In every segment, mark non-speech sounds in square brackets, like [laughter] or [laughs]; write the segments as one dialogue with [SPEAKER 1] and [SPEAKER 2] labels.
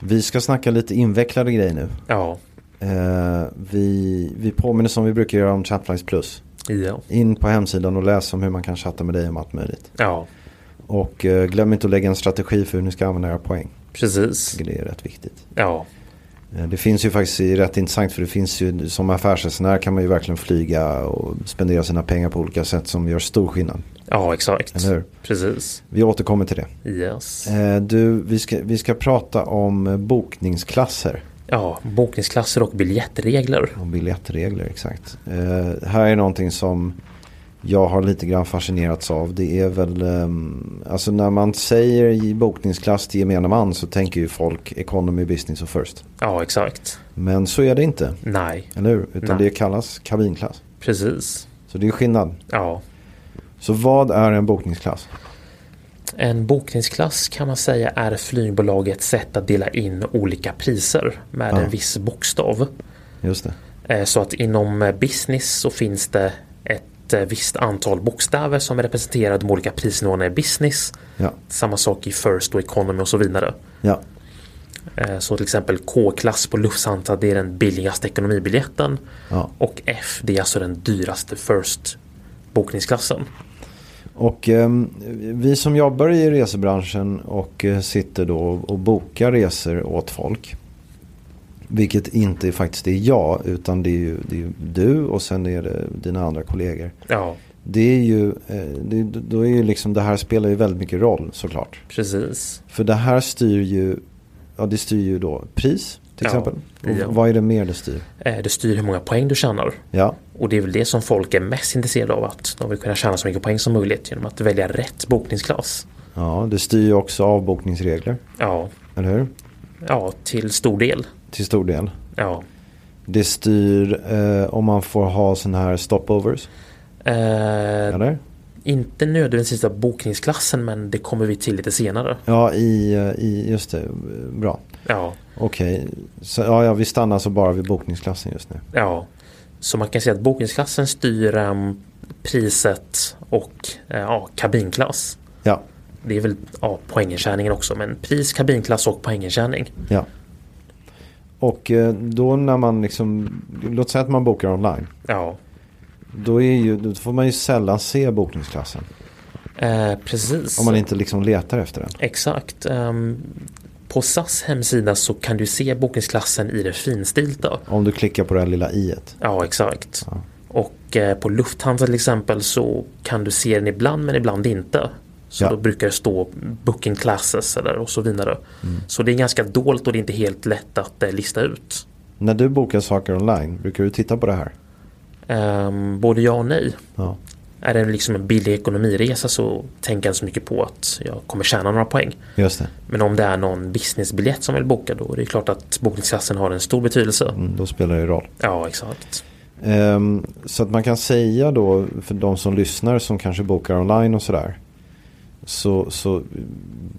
[SPEAKER 1] Vi ska snacka lite invecklade grejer nu.
[SPEAKER 2] Ja,
[SPEAKER 1] Eh, vi, vi påminner som vi brukar göra om Chatflies Plus.
[SPEAKER 2] ja,
[SPEAKER 1] In på hemsidan och läs om hur man kan chatta med dig om allt möjligt.
[SPEAKER 2] ja,
[SPEAKER 1] Och eh, glöm inte att lägga en strategi för hur ni ska använda era poäng.
[SPEAKER 2] precis.
[SPEAKER 1] Det är rätt viktigt.
[SPEAKER 2] Ja,
[SPEAKER 1] Eh, Det finns ju faktiskt det är rätt intressant för det finns ju som affärsresenär kan man ju verkligen flyga och spendera sina pengar på olika sätt som gör stor skillnad.
[SPEAKER 2] ja, exakt.
[SPEAKER 1] Eller hur?
[SPEAKER 2] Precis.
[SPEAKER 1] Vi återkommer till det.
[SPEAKER 2] Yes.
[SPEAKER 1] Eh, Du, vi ska, vi ska prata om eh, bokningsklasser.
[SPEAKER 2] Ja, bokningsklasser och biljettregler.
[SPEAKER 1] Om biljettregler, exakt. Eh, här är någonting som jag har lite grann fascinerats av. Det är väl, ehm, alltså när man säger i bokningsklass till gemene man så tänker ju folk economy, business och first.
[SPEAKER 2] Ja, exakt.
[SPEAKER 1] Men så är det inte,
[SPEAKER 2] Nej,
[SPEAKER 1] eller hur? Utan
[SPEAKER 2] Nej.
[SPEAKER 1] det kallas kabinklass.
[SPEAKER 2] precis.
[SPEAKER 1] Så det är skillnad.
[SPEAKER 2] Ja,
[SPEAKER 1] Så vad är en bokningsklass?
[SPEAKER 2] en bokningsklass kan man säga är flygbolagets sätt att dela in olika priser med
[SPEAKER 1] Ja.
[SPEAKER 2] en viss bokstav.
[SPEAKER 1] Just det.
[SPEAKER 2] Eh, Så att inom eh, business så finns det ett eh, visst antal bokstäver som är representerade med olika prisnivåerna i business.
[SPEAKER 1] Ja,
[SPEAKER 2] Samma sak i first och economy och så vidare.
[SPEAKER 1] ja.
[SPEAKER 2] Eh, Så till exempel K-klass på Lufthansa det är den billigaste ekonomibiljetten.
[SPEAKER 1] Ja.
[SPEAKER 2] Och F det är alltså den dyraste first bokningsklassen.
[SPEAKER 1] Och ehm, vi som jobbar i resebranschen och eh, sitter då och bokar resor åt folk. Vilket inte faktiskt är jag utan det är ju, det är ju du och sen är det dina andra kollegor.
[SPEAKER 2] Ja,
[SPEAKER 1] Det är ju, eh, det, då är ju liksom, det här spelar ju väldigt mycket roll såklart.
[SPEAKER 2] precis.
[SPEAKER 1] För det här styr ju, ja det styr ju då pris till
[SPEAKER 2] Ja.
[SPEAKER 1] exempel. Och
[SPEAKER 2] Ja.
[SPEAKER 1] Vad är det mer det styr?
[SPEAKER 2] Eh, Det styr hur många poäng du tjänar.
[SPEAKER 1] Ja,
[SPEAKER 2] Och det är väl det som folk är mest intresserade av att de vill kunna tjäna så mycket poäng som möjligt genom att välja rätt bokningsklass.
[SPEAKER 1] ja det styr ju också avbokningsregler,
[SPEAKER 2] Ja,
[SPEAKER 1] eller hur?
[SPEAKER 2] ja till stor del.
[SPEAKER 1] Till stor del.
[SPEAKER 2] Ja.
[SPEAKER 1] Det styr eh, om man får ha sådana här stopovers.
[SPEAKER 2] Eh,
[SPEAKER 1] Eller?
[SPEAKER 2] inte nödvändigtvis av bokningsklassen men det kommer vi till lite senare.
[SPEAKER 1] Ja, i, eh, i, just det. Bra.
[SPEAKER 2] Ja,
[SPEAKER 1] Okej. Så Ja, ja, vi stannar så bara vid bokningsklassen just nu.
[SPEAKER 2] Ja, så man kan säga att bokningsklassen styr em, priset och eh, ja, kabinklass.
[SPEAKER 1] Ja,
[SPEAKER 2] Det är väl ja, poängintjäningen också, men pris, kabinklass och poängintjäning.
[SPEAKER 1] ja. Och eh, då när man liksom, låt säga att man bokar online.
[SPEAKER 2] Ja,
[SPEAKER 1] Då, är ju, då får man ju sällan se bokningsklassen.
[SPEAKER 2] eh, precis.
[SPEAKER 1] Om man inte liksom letar efter den.
[SPEAKER 2] Exakt. em, på SAS hemsida så kan du se bokningsklassen i det finstilta.
[SPEAKER 1] Om du klickar på det här lilla i et.
[SPEAKER 2] Ja, exakt.
[SPEAKER 1] Ja.
[SPEAKER 2] Och eh, på Lufthansa till exempel så kan du se den ibland men ibland inte. Så
[SPEAKER 1] Ja.
[SPEAKER 2] då brukar det stå booking classes eller och så vidare.
[SPEAKER 1] Mm.
[SPEAKER 2] Så det är ganska dolt och det är inte helt lätt att eh, lista ut.
[SPEAKER 1] När du bokar saker online, brukar du titta på det här?
[SPEAKER 2] Ehm, både ja och nej.
[SPEAKER 1] Ja.
[SPEAKER 2] Är det liksom en billig ekonomiresa så tänker jag inte så mycket på att jag kommer tjäna några poäng.
[SPEAKER 1] Just det.
[SPEAKER 2] Men om det är någon businessbiljett som vill boka då är det klart att bokningsklassen har en stor betydelse.
[SPEAKER 1] Mm, Då spelar det ju roll.
[SPEAKER 2] Ja, exakt.
[SPEAKER 1] Ehm, så att man kan säga då för de som lyssnar som kanske bokar online och sådär. Så, så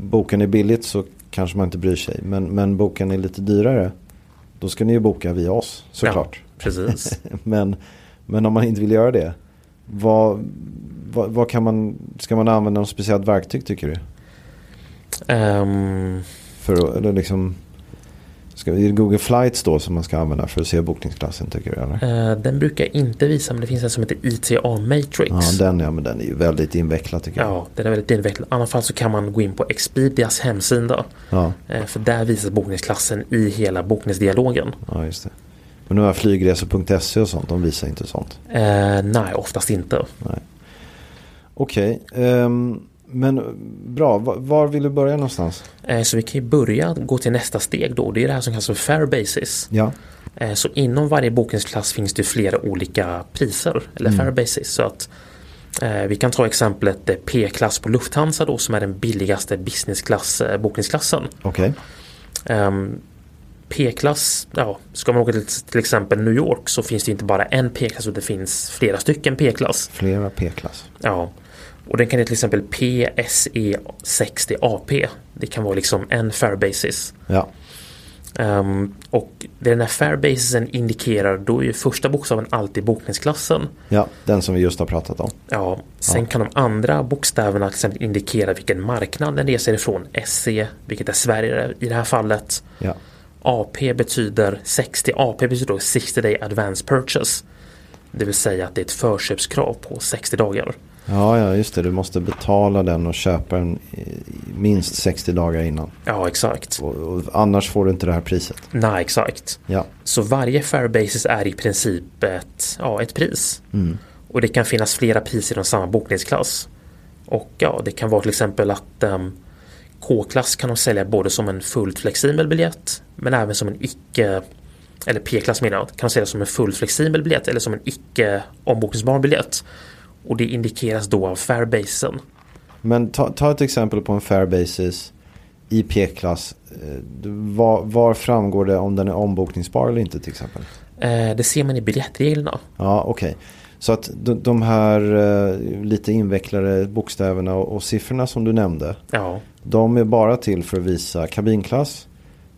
[SPEAKER 1] boken är billigt så kanske man inte bryr sig. Men, men boken är lite dyrare. Då ska ni ju boka via oss såklart.
[SPEAKER 2] Ja, precis. [laughs]
[SPEAKER 1] [laughs] Men, men om man inte vill göra det. Vad, vad, vad kan man, ska man använda något speciellt verktyg tycker du?
[SPEAKER 2] Ehm,
[SPEAKER 1] För att, eller liksom, ska, är det Google Flights då som man ska använda för att se bokningsklassen tycker du? Eller?
[SPEAKER 2] eh, den brukar jag inte visa men det finns en som heter ITA Matrix.
[SPEAKER 1] Ja, den, ja, men den är ju väldigt invecklad tycker jag.
[SPEAKER 2] Ja, den är väldigt invecklad. I annat fall så kan man gå in på Expedias hemsida.
[SPEAKER 1] Ja,
[SPEAKER 2] Eh, För där visas bokningsklassen i hela bokningsdialogen.
[SPEAKER 1] ja just det. Men de här flygresor.se E och sånt, de visar inte sånt.
[SPEAKER 2] Eh, nej, oftast inte.
[SPEAKER 1] Okej, ehm, men bra. Va- Var vill du börja någonstans?
[SPEAKER 2] Eh, så vi kan ju börja gå till nästa steg då. Det är det här som kallas för fair basis.
[SPEAKER 1] Ja,
[SPEAKER 2] Eh, Så inom varje bokningsklass finns det flera olika priser eller
[SPEAKER 1] Mm.
[SPEAKER 2] fair basis. Så att, eh, vi kan ta exemplet eh, P-klass på Lufthansa då som är den billigaste businessklass eh, bokningsklassen.
[SPEAKER 1] okej.
[SPEAKER 2] Ehm, P-klass, ja, ska man åka till, till exempel New York så finns det inte bara en P-klass utan det finns flera stycken P-klass.
[SPEAKER 1] Flera P-klass.
[SPEAKER 2] Ja. Och den kan heta till exempel E PSE60AP. Det kan vara liksom en fair basis.
[SPEAKER 1] Ja,
[SPEAKER 2] Ehm, och det den här fair basisen indikerar då är ju första bokstaven alltid bokningsklassen.
[SPEAKER 1] ja, den som vi just har pratat om.
[SPEAKER 2] Ja, sen kan de andra bokstäverna till exempel indikera vilken marknad den reser ifrån. SE, vilket är Sverige i det här fallet.
[SPEAKER 1] Ja,
[SPEAKER 2] AP betyder 60 AP betyder då 60 day advance purchase. Det vill säga att det är ett förköpskrav på 60 dagar.
[SPEAKER 1] ja, ja just det. Du måste betala den och köpa den i- minst 60 dagar innan.
[SPEAKER 2] Ja, exakt.
[SPEAKER 1] Och, och annars får du inte det här priset.
[SPEAKER 2] Nej, exakt.
[SPEAKER 1] Ja,
[SPEAKER 2] Så varje fair basis är i princip ett, ja, ett pris. Och det kan finnas flera priser inom samma bokningsklass. Och ja, det kan vara till exempel att ehm, K-klass kan de sälja både som en fullt flexibel biljett men även som en icke eller P-klass menar jag, kan de sälja som en fullt flexibel biljett eller som en icke ombokningsbar biljett. Och det indikeras då av fairbasen.
[SPEAKER 1] men ta, ta ett exempel på en fair basis i P-klass. Eh, du- Var, var framgår det om den är ombokningsbar eller inte till exempel?
[SPEAKER 2] Eh, det ser man i biljettreglerna.
[SPEAKER 1] Ja, okej. Så att de, de här eh, lite invecklade bokstäverna och, och siffrorna som du nämnde.
[SPEAKER 2] Ja,
[SPEAKER 1] De är bara till för att visa kabinklass,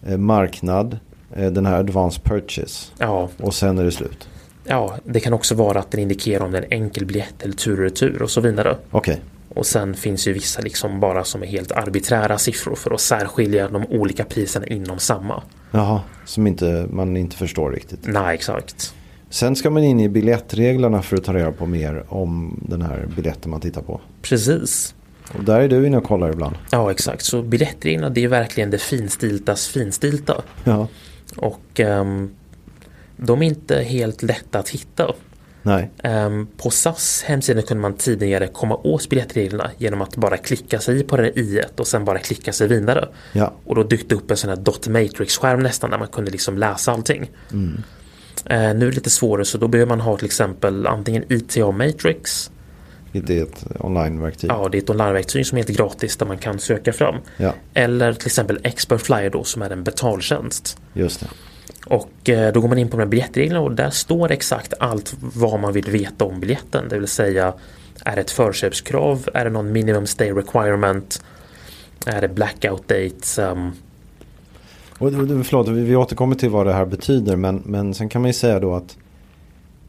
[SPEAKER 1] eh, marknad, eh, den här advance purchase.
[SPEAKER 2] ja,
[SPEAKER 1] Och sen är det slut.
[SPEAKER 2] ja, det kan också vara att den indikerar om det är en enkel biljett eller tur och retur och så vidare.
[SPEAKER 1] Okej,
[SPEAKER 2] Och sen finns ju vissa liksom bara som är helt arbiträra siffror för att särskilja de olika priserna inom samma.
[SPEAKER 1] jaha. Som inte, man inte förstår riktigt.
[SPEAKER 2] Nej, exakt.
[SPEAKER 1] Sen ska man in i biljettreglerna för att ta reda på mer om den här biljetten man tittar på.
[SPEAKER 2] Precis.
[SPEAKER 1] Och där är du inne och kollar ibland.
[SPEAKER 2] Ja, exakt. Så biljettreglerna det är verkligen det finstiltas finstilta.
[SPEAKER 1] Ja.
[SPEAKER 2] Och ehm, de är inte helt lätta att hitta.
[SPEAKER 1] Nej,
[SPEAKER 2] Ehm, på SAS hemsida kunde man tidigare komma åt biljettreglerna genom att bara klicka sig i på det där i och sen bara klicka sig vidare.
[SPEAKER 1] Ja.
[SPEAKER 2] Och då dykte upp en sån här dot matrix-skärm nästan där man kunde liksom läsa allting.
[SPEAKER 1] Mm.
[SPEAKER 2] Eh, nu är det lite svårare så då behöver man ha till exempel antingen ITA Matrix.
[SPEAKER 1] inte ett online-verktyg.
[SPEAKER 2] Ja, det är ett onlineverktyg som är helt gratis där man kan söka fram.
[SPEAKER 1] Ja.
[SPEAKER 2] Eller till exempel Expert Flyer då som är en betaltjänst.
[SPEAKER 1] Just det.
[SPEAKER 2] Och eh, då går man in på de här biljettreglerna och där står exakt allt vad man vill veta om biljetten. Det vill säga, är det ett förköpskrav? Är det någon minimum stay requirement? Är det blackout dates? Ehm,
[SPEAKER 1] Och, och, och, förlåt, vi, vi återkommer till vad det här betyder. Men, men sen kan man ju säga då att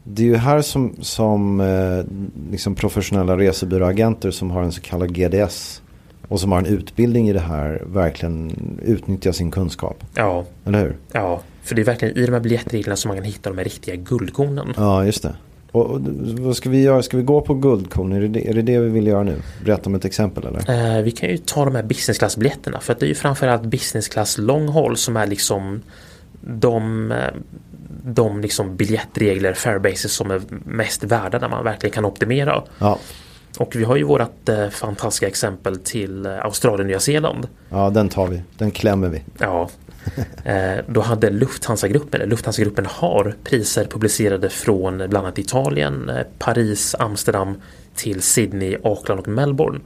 [SPEAKER 1] det är ju här som, som eh, liksom professionella resebyråagenter som har en så kallad GDS och som har en utbildning i det här verkligen utnyttjar sin kunskap.
[SPEAKER 2] ja,
[SPEAKER 1] Eller hur?
[SPEAKER 2] ja, för det är verkligen i de här biljettreglerna som man kan hitta de här riktiga guldkornen.
[SPEAKER 1] Ja, just det. Och, och, vad ska vi göra? Ska vi gå på guldkorn? Är det, det- är det det vi vill göra nu? Berätta om ett exempel eller?
[SPEAKER 2] Eh, vi kan ju ta de här business class-biljetterna för att det är ju framförallt business class long haul som är liksom de, eh, de liksom biljettregler, fairbases som är mest värda där man verkligen kan optimera.
[SPEAKER 1] Ja,
[SPEAKER 2] Och vi har ju vårat eh, fantastiska exempel till eh, Australien och Nya Zeeland.
[SPEAKER 1] ja, den tar vi. Den klämmer vi.
[SPEAKER 2] Ja. [laughs] Eh, då hade Lufthansa-gruppen, eller Lufthansa-gruppen har priser publicerade från bland annat Italien, eh, Paris, Amsterdam till Sydney, Auckland och Melbourne.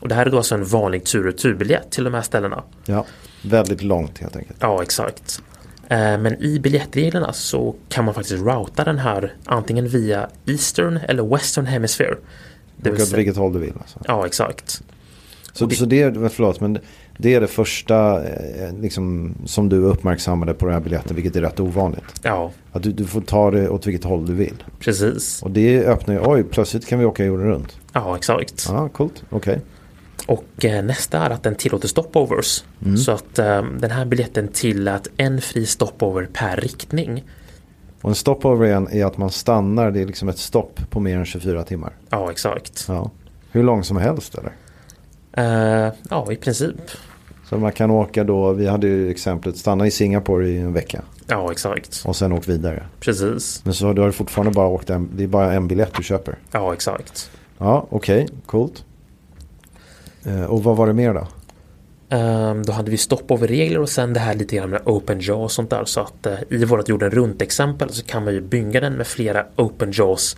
[SPEAKER 2] Och det här är då alltså en vanlig tur och turbiljett till de här ställena.
[SPEAKER 1] Ja, väldigt långt helt enkelt.
[SPEAKER 2] Ja, exakt. Eh, Men i biljettreglerna så kan man faktiskt routa den här antingen via Eastern eller Western Hemisphere. Det
[SPEAKER 1] Åk
[SPEAKER 2] vill
[SPEAKER 1] åt
[SPEAKER 2] säga-
[SPEAKER 1] vilket håll du vill alltså.
[SPEAKER 2] Ja, exakt.
[SPEAKER 1] Så,
[SPEAKER 2] Och det-
[SPEAKER 1] så det, är- förlåt, men det är det första eh, liksom, som du uppmärksammade på den här biljetten, vilket är rätt ovanligt.
[SPEAKER 2] Ja,
[SPEAKER 1] Att du, du får ta det åt vilket håll du vill.
[SPEAKER 2] precis.
[SPEAKER 1] Och det öppnar ju, oj, plötsligt kan vi åka jorden runt.
[SPEAKER 2] Ja, exakt.
[SPEAKER 1] Ja, coolt, okej.
[SPEAKER 2] Och eh, nästa är att den tillåter stopovers.
[SPEAKER 1] Mm.
[SPEAKER 2] Så att eh, den här biljetten tillät en fri stopover per riktning.
[SPEAKER 1] Och en stopover igen är att man stannar, det är liksom ett stopp på mer än 24 timmar.
[SPEAKER 2] Ja, exakt.
[SPEAKER 1] Ja. Hur lång som helst eller?
[SPEAKER 2] Eh, ja, i princip.
[SPEAKER 1] Så man kan åka då, vi hade ju exemplet stanna i Singapore i en vecka
[SPEAKER 2] Ja, exakt.
[SPEAKER 1] och sen åk vidare.
[SPEAKER 2] Precis.
[SPEAKER 1] Men så har du har fortfarande bara åkt en, det är bara en biljett du köper.
[SPEAKER 2] Ja, exakt.
[SPEAKER 1] Ja, okej, coolt. Eh, och vad var det mer då?
[SPEAKER 2] Ehm, då hade vi stoppoverregler och sen det här lite grann med open jaw och sånt där. Så att eh, i vårt jorden runt exempel så kan man ju bygga den med flera open jaws.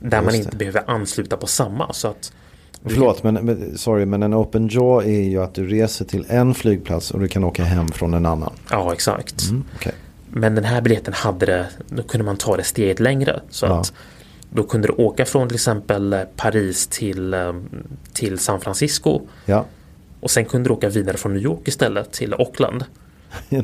[SPEAKER 2] Där man
[SPEAKER 1] det.
[SPEAKER 2] inte behöver ansluta på samma. Så att
[SPEAKER 1] Förlåt, men, men, sorry, men en open jaw är ju att du reser till en flygplats och du kan åka hem från en annan.
[SPEAKER 2] Ja, exakt.
[SPEAKER 1] Okej.
[SPEAKER 2] Men den här biljetten hade det, då kunde man ta det steget längre. Så
[SPEAKER 1] Ja.
[SPEAKER 2] att då kunde du åka från till exempel eh, Paris till, eh, till San Francisco.
[SPEAKER 1] Ja, [laughs]
[SPEAKER 2] Och sen kunde du åka vidare från New York istället till Auckland.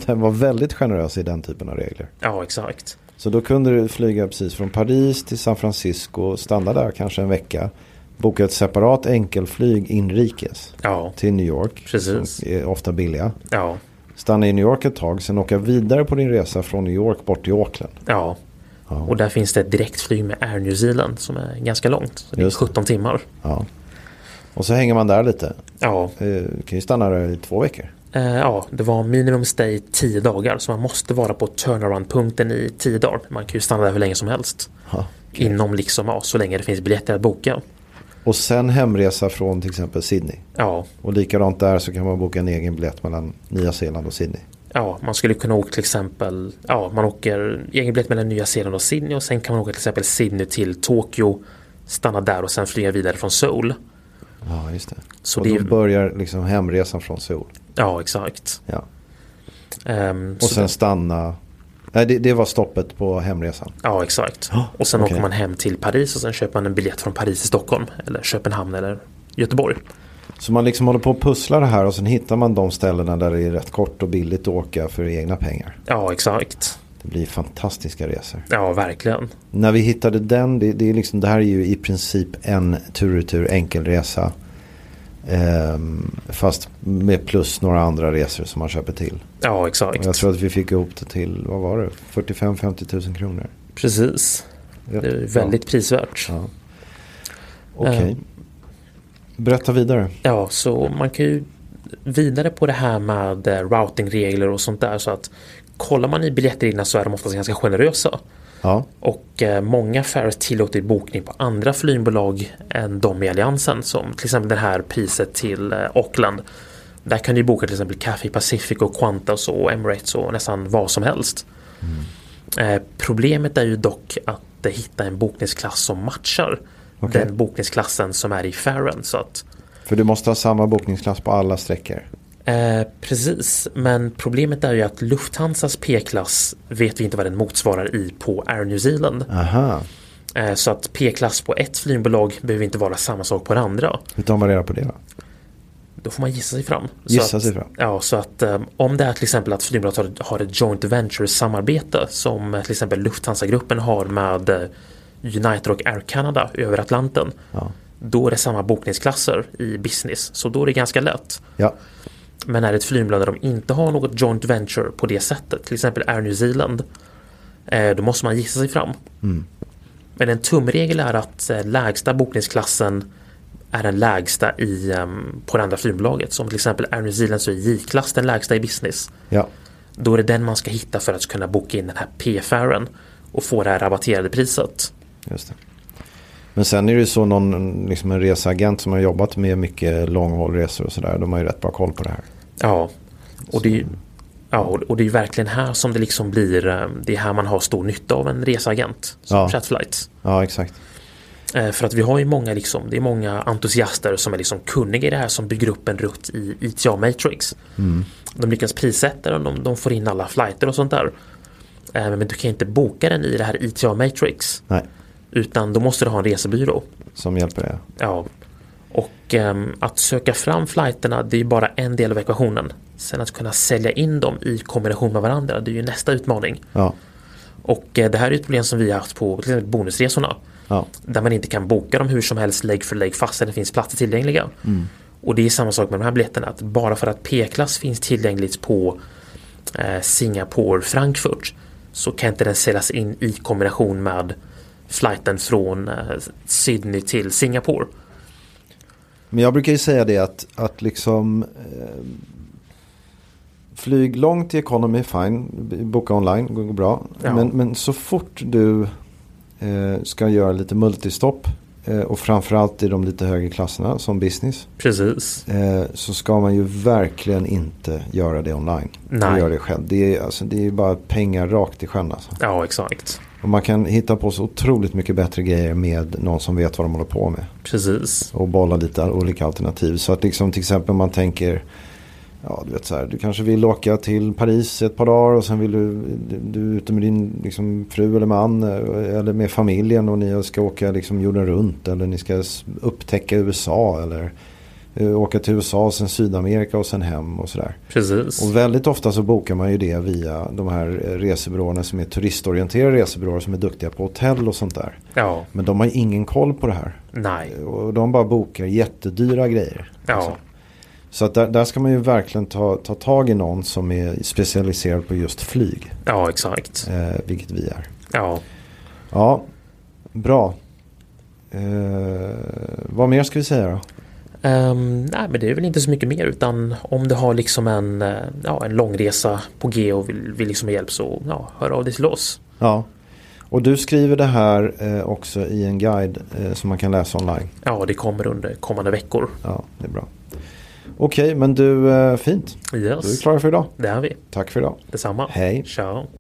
[SPEAKER 1] den var väldigt generös i den typen av regler.
[SPEAKER 2] Ja, exakt.
[SPEAKER 1] Så då kunde du flyga precis från Paris till San Francisco, stanna där kanske en vecka, boka ett separat enkelflyg inrikes
[SPEAKER 2] Ja,
[SPEAKER 1] till New York,
[SPEAKER 2] Precis.
[SPEAKER 1] som är ofta billiga.
[SPEAKER 2] ja,
[SPEAKER 1] Stanna i New York ett tag, sen åka vidare på din resa från New York bort till Auckland.
[SPEAKER 2] ja. Och där finns det ett direktflyg med Air New Zealand som är ganska långt. Så det är
[SPEAKER 1] Just det.
[SPEAKER 2] 17 timmar.
[SPEAKER 1] Ja. Och så hänger man där lite.
[SPEAKER 2] Ja,
[SPEAKER 1] Eh, Du kan ju stanna där i två veckor.
[SPEAKER 2] eh, ja, det var minimum stay 10 dagar. Så man måste vara på turnaround-punkten i 10 dagar. Man kan ju stanna där hur länge som helst.
[SPEAKER 1] Ja.
[SPEAKER 2] Inom liksom, ja, så länge det finns biljetter att boka.
[SPEAKER 1] Och sen hemresa från till exempel Sydney.
[SPEAKER 2] Ja,
[SPEAKER 1] Och likadant där så kan man boka en egen biljett mellan Nya Zeeland och Sydney.
[SPEAKER 2] ja, man skulle kunna åka till exempel, ja, man åker egen biljett mellan Nya Zeeland och Sydney och sen kan man åka till exempel Sydney till Tokyo, stanna där och sen flyga vidare från Seoul.
[SPEAKER 1] Ja, just det.
[SPEAKER 2] Så
[SPEAKER 1] och
[SPEAKER 2] det
[SPEAKER 1] då
[SPEAKER 2] är-
[SPEAKER 1] börjar liksom hemresan från Seoul.
[SPEAKER 2] Ja, exakt.
[SPEAKER 1] Ja.
[SPEAKER 2] Ehm,
[SPEAKER 1] Och
[SPEAKER 2] så
[SPEAKER 1] sen
[SPEAKER 2] det-
[SPEAKER 1] stanna. Nej, det, det var stoppet på hemresan.
[SPEAKER 2] ja, exakt. Och sen
[SPEAKER 1] okej.
[SPEAKER 2] åker man hem till Paris och sen köper man en biljett från Paris till Stockholm eller Köpenhamn eller Göteborg.
[SPEAKER 1] Så man liksom håller på och pusslar det här och sen hittar man de ställena där det är rätt kort och billigt att åka för egna pengar.
[SPEAKER 2] Ja, exakt.
[SPEAKER 1] Det blir fantastiska resor.
[SPEAKER 2] Ja, verkligen.
[SPEAKER 1] När vi hittade den, det, det, är liksom, det här är ju i princip en tur och tur enkelresa. Ehm, fast med plus några andra resor som man köper till.
[SPEAKER 2] Ja,
[SPEAKER 1] Och jag
[SPEAKER 2] exakt.
[SPEAKER 1] tror att vi fick ihop det till, vad var det, 45-50 000 kronor.
[SPEAKER 2] Precis. Det är väldigt prisvärt.
[SPEAKER 1] Ja. Okej.
[SPEAKER 2] Eh.
[SPEAKER 1] Berätta vidare.
[SPEAKER 2] Ja, så man kan ju vidare på det här med eh, routingregler och sånt där så att kollar man i biljettreglerna så är de oftast ganska generösa.
[SPEAKER 1] Ja,
[SPEAKER 2] Och eh, många affärer tillåter bokning på andra flygbolag än de i alliansen som till exempel det här priset till eh, Auckland. Där kan du ju boka till exempel Cathay Pacific och Qantas och Emirates och nästan vad som helst. Eh, problemet är ju dock att eh, hitta en bokningsklass som matchar
[SPEAKER 1] Okej.
[SPEAKER 2] den bokningsklassen som är i fären. Så att
[SPEAKER 1] för du måste ha samma bokningsklass på alla sträckor.
[SPEAKER 2] Eh, precis, men problemet är ju att Lufthansas P-klass vet vi inte vad den motsvarar i på Air New Zealand.
[SPEAKER 1] Aha,
[SPEAKER 2] Eh, så att P-klass på ett flygbolag behöver inte vara samma sak på det andra.
[SPEAKER 1] hur tar man reda på det då?
[SPEAKER 2] Då får man gissa sig fram.
[SPEAKER 1] Gissa
[SPEAKER 2] så att,
[SPEAKER 1] sig fram.
[SPEAKER 2] Ja, så att eh, om det är till exempel att flygbolaget har- har ett joint venture-samarbete som eh, till exempel Lufthansa-gruppen har med eh, United och Air Canada över Atlanten.
[SPEAKER 1] Ja.
[SPEAKER 2] Då är det samma bokningsklasser i business, så då är det ganska lätt.
[SPEAKER 1] Ja,
[SPEAKER 2] Men är det ett flygbolag där de inte har något joint venture på det sättet, till exempel Air New Zealand, eh, då måste man gissa sig fram. Men en tumregel är att eh, lägsta bokningsklassen är den lägsta i, ehm, på det andra flygbolaget. Som till exempel Air New Zealand så är J-klass den lägsta i business.
[SPEAKER 1] ja.
[SPEAKER 2] Då är det den man ska hitta för att kunna boka in den här P-fären och få det här rabatterade priset.
[SPEAKER 1] Just det. Men sen är det ju så någon, liksom en reseagent som har jobbat med mycket långhållresor och sådär. De har ju rätt bra koll på det här.
[SPEAKER 2] Ja, och det är ju Ja, och och det är ju verkligen här som det liksom blir, eh, det är här man har stor nytta av en reseagent som
[SPEAKER 1] Ja.
[SPEAKER 2] Chatflight.
[SPEAKER 1] Ja, exakt.
[SPEAKER 2] Eh, För att vi har ju många, liksom, det är många entusiaster som är liksom kunniga i det här som bygger upp en rutt i ITA Matrix. De lyckas prissätta den, de, de får in alla flighter och sånt där. Eh, Men du kan inte boka den i det här ITA Matrix.
[SPEAKER 1] Nej,
[SPEAKER 2] Utan då måste du ha en resebyrå.
[SPEAKER 1] som hjälper det.
[SPEAKER 2] Ja, Och ehm, att söka fram flighterna det är ju bara en del av ekvationen. Sen att kunna sälja in dem i kombination med varandra det är ju nästa utmaning.
[SPEAKER 1] Ja.
[SPEAKER 2] Och eh, det här är ett problem som vi har haft på till exempel bonusresorna.
[SPEAKER 1] Ja.
[SPEAKER 2] Där man inte kan boka dem hur som helst leg för leg fast det finns platser tillgängliga.
[SPEAKER 1] Mm.
[SPEAKER 2] Och det är samma sak med de här biljetterna. Att bara för att P-klass finns tillgängligt på eh, Singapore Frankfurt så kan inte den säljas in i kombination med flighten från eh, Sydney till Singapore.
[SPEAKER 1] Men jag brukar ju säga det att, att liksom eh, flyg långt i economy, fine. Boka online, går, går bra.
[SPEAKER 2] Ja.
[SPEAKER 1] Men, men så fort du eh, ska göra lite multistopp eh, och framförallt i de lite högre klasserna som business
[SPEAKER 2] Precis.
[SPEAKER 1] eh, så ska man ju verkligen inte göra det online. Man
[SPEAKER 2] Nej.
[SPEAKER 1] gör det själv. Det är, alltså, det är ju bara pengar rakt i sjön alltså.
[SPEAKER 2] Ja, exakt.
[SPEAKER 1] Och man kan hitta på så otroligt mycket bättre grejer med någon som vet vad de håller på med
[SPEAKER 2] Precis.
[SPEAKER 1] och bolla lite olika alternativ. Så att liksom till exempel man tänker, ja du vet så här, du kanske vill åka till Paris ett par dagar och sen vill du, du, du är ute med din liksom, fru eller man eh, eller med familjen och ni ska åka liksom, jorden runt eller ni ska s- upptäcka USA eller eh, åka till USA och sen Sydamerika och sen hem och sådär.
[SPEAKER 2] Precis.
[SPEAKER 1] Och väldigt ofta så bokar man ju det via de här eh, resebyråerna som är turistorienterade resebyråer som är duktiga på hotell och sånt där.
[SPEAKER 2] Ja,
[SPEAKER 1] Men de har ju ingen koll på det här.
[SPEAKER 2] nej.
[SPEAKER 1] Och de bara bokar jättedyra grejer.
[SPEAKER 2] Ja,
[SPEAKER 1] Eh, Alltså. Så att där, där ska man ju verkligen ta, ta tag i någon som är specialiserad på just flyg.
[SPEAKER 2] ja exakt.
[SPEAKER 1] Eh, vilket vi är.
[SPEAKER 2] Ja.
[SPEAKER 1] Ja, bra. Eh, vad mer ska vi säga då?
[SPEAKER 2] Ehm, nej men det är väl inte så mycket mer utan om du har liksom en, eh, ja, en långresa på G och vill, vill liksom ha hjälp så ja, hör av dig till oss.
[SPEAKER 1] Ja. Och du skriver det här eh, också i en guide eh, som man kan läsa online.
[SPEAKER 2] Ja det kommer under kommande veckor.
[SPEAKER 1] Ja, det är bra. Okej, men du, eh, fint. Då är vi
[SPEAKER 2] Yes,
[SPEAKER 1] klara för idag.
[SPEAKER 2] det är vi.
[SPEAKER 1] Tack för idag.
[SPEAKER 2] Detsamma.
[SPEAKER 1] Hej.
[SPEAKER 2] Ciao.